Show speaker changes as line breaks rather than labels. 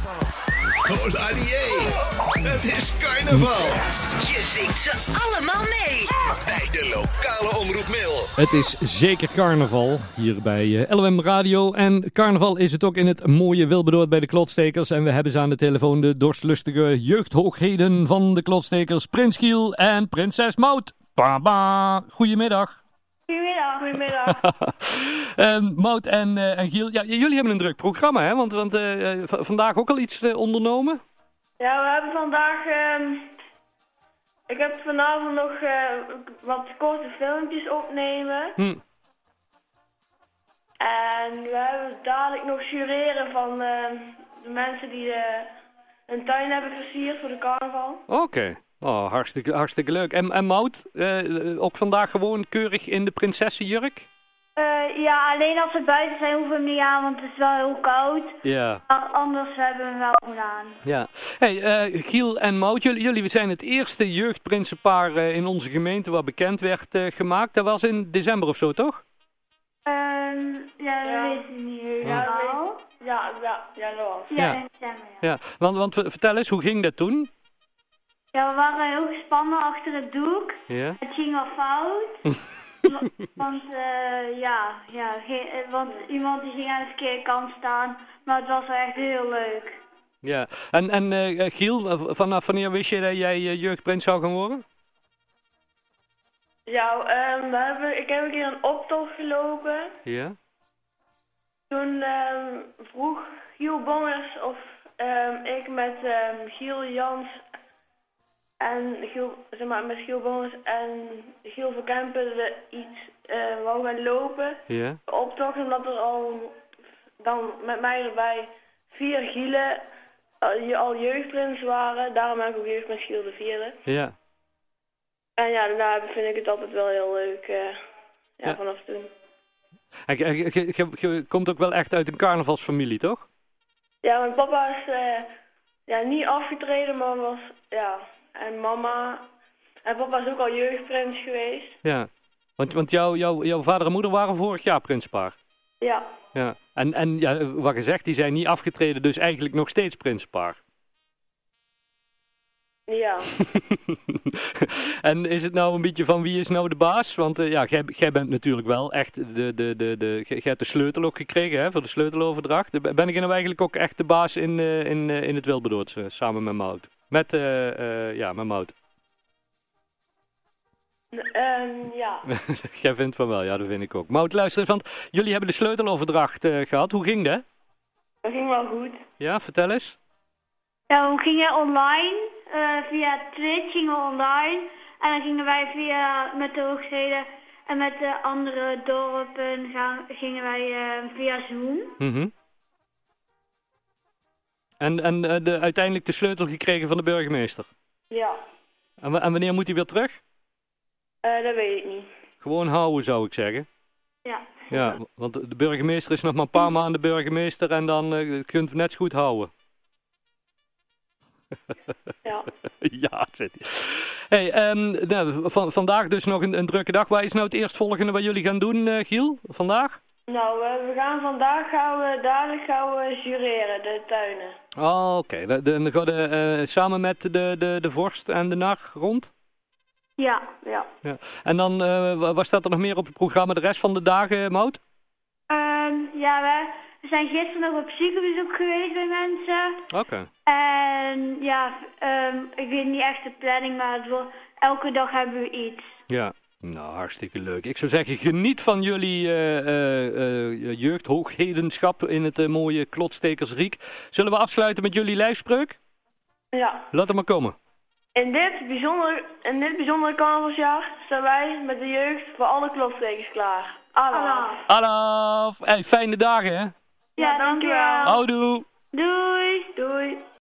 Hola, Het is carnaval.
Je zingt ze allemaal mee.
Bij de lokale omroep Mail.
Het is zeker carnaval hier bij eh, LOM Radio. En carnaval is het ook in het mooie Wilberdoord bij de Klotstekers. En we hebben ze aan de telefoon, de dorstlustige jeugdhoogheden van de Klotstekers. Prins Giel en prinses Maud. Baba, goedemiddag.
Goedemiddag. Goedemiddag.
Ehm Maud en, eh, en Giel, ja, j- jullie hebben een druk programma, hè? Want, want eh, eh, v- vandaag ook al iets eh, ondernomen.
ja, we hebben vandaag. ehm, ik heb vanavond nog eh, wat korte filmpjes opnemen.
Hm.
En we hebben dadelijk nog jureren van ehm, de mensen die eh, hun tuin hebben versierd voor de carnaval.
Oké. Oh, hartstikke, hartstikke leuk. En, en Maud, eh, ook vandaag gewoon keurig in de prinsessenjurk?
Eh, ja, alleen als we buiten zijn hoeven we hem niet aan, want het is wel heel koud.
Ja.
Maar anders hebben we hem wel gewoon aan.
Ja. Hey, eh, Giel en Maud, jullie, jullie zijn het eerste jeugdprinsenpaar eh, in onze gemeente wat bekend werd eh, gemaakt. Dat was in december of zo, toch?
ja, dat weet ik niet helemaal. Ja, ja, ja, dat was.
Ja. in Ja. Want, want eh, vertel eens, hoe ging dat toen?
Ja, we waren heel gespannen achter het doek.
Ja.
Het ging al fout. Wa- want eh, ja, ja ge- eh, want iemand die ging aan de verkeerde kant staan. Maar het was wel echt heel leuk.
ja. En, en eh, eh, Giel, eh, v- vanaf wanneer wist je dat jij eh, jeugdprins zou gaan worden?
Ja, ehm, we hebben, ik heb een keer een optocht gelopen.
Ja.
Toen ehm, vroeg Giel Bongers of ehm, ik met ehm, Giel Jans en Giel, zeg maar, met Giel Bongers en Giel van Kempen we iets eh wou gaan lopen.
Ja.
De optocht, omdat er al dan met mij erbij vier Gielen al, je- al jeugdprins waren. Daarom heb ik ook jeugdprins Giel de vierde.
Ja.
En ja, daarna vind ik het altijd wel heel leuk eh, ja,
Ja.
vanaf toen.
En je- je- je- je- je komt ook wel echt uit een carnavalsfamilie, toch?
Ja, mijn papa is eh, ja, niet afgetreden, maar was. Ja, en mama. En papa is ook al jeugdprins geweest.
Ja. Want, want jouw jouw jouw vader en moeder waren vorig jaar prinspaar.
Ja,
Ja. En, en ja, eh, wat gezegd, die zijn niet afgetreden, dus eigenlijk nog steeds prinspaar.
ja.
en is het nou een beetje van wie is nou de baas? Want eh, ja, jij, jij bent natuurlijk wel echt de, de, de, de, jij jij hebt de sleutel ook gekregen hè, voor de sleuteloverdracht. Ben ik nou eigenlijk ook echt de baas in, eh, in, eh, in het Wilberdoordse samen met Mout? Met, eh, eh, ja, met Mout.
Ehm, ja.
jij vindt van wel, ja, dat vind ik ook. Mout, luister eens, want jullie hebben de sleuteloverdracht eh, gehad. Hoe ging dat?
Dat ging wel goed.
Ja, vertel eens.
Ja, we gingen online, eh, via Twitch gingen we online. En dan gingen wij via, met de hoogsteden en met de andere dorpen gaan, gingen wij eh, via Zoom.
Mhm. En, en eh, de, uiteindelijk de sleutel gekregen van de burgemeester.
Ja,
En, wa- en wanneer moet hij weer terug?
Eh, dat weet ik niet.
Gewoon houden, zou ik zeggen.
Ja.
Ja, want de burgemeester is nog maar een paar maanden burgemeester en dan eh, kunt u net zo goed houden.
Ja.
ja, zit ie. Hey, ehm, nou, van, vandaag dus nog een, een drukke dag. Wat is nou het eerstvolgende wat jullie gaan doen, eh, Giel, vandaag?
Nou, eh, we gaan vandaag gaan we, dadelijk gaan we jureren, de tuinen.
Oh, oké. De- de- Dan gaan we eh, samen met de, de, de vorst en de nar rond.
Ja.
Ja.
Ja. En dan, eh, wa- wat staat er nog meer op het programma de rest van de dagen, Mout?
Ehm, ja, we, we zijn gisteren nog op ziekenbezoek geweest bij mensen.
Oké.
En ja, ehm, ik weet niet echt de planning, maar het wordt- elke dag hebben we iets.
Ja, nou hartstikke leuk. Ik zou zeggen, geniet van jullie eh, eh, eh, jeugdhooghedenschap in het eh, mooie Klotstekersriek. Zullen we afsluiten met jullie lijfspreuk?
Ja.
Laat hem maar komen.
In dit bijzondere, in dit bijzondere carnavalsjaar staan wij met de jeugd voor alle klopstekens klaar. Allah.
Alaf! Hey, fijne dagen hè.
Nou, Ja, dankjewel.
Houdoe!
Doei!
Doei.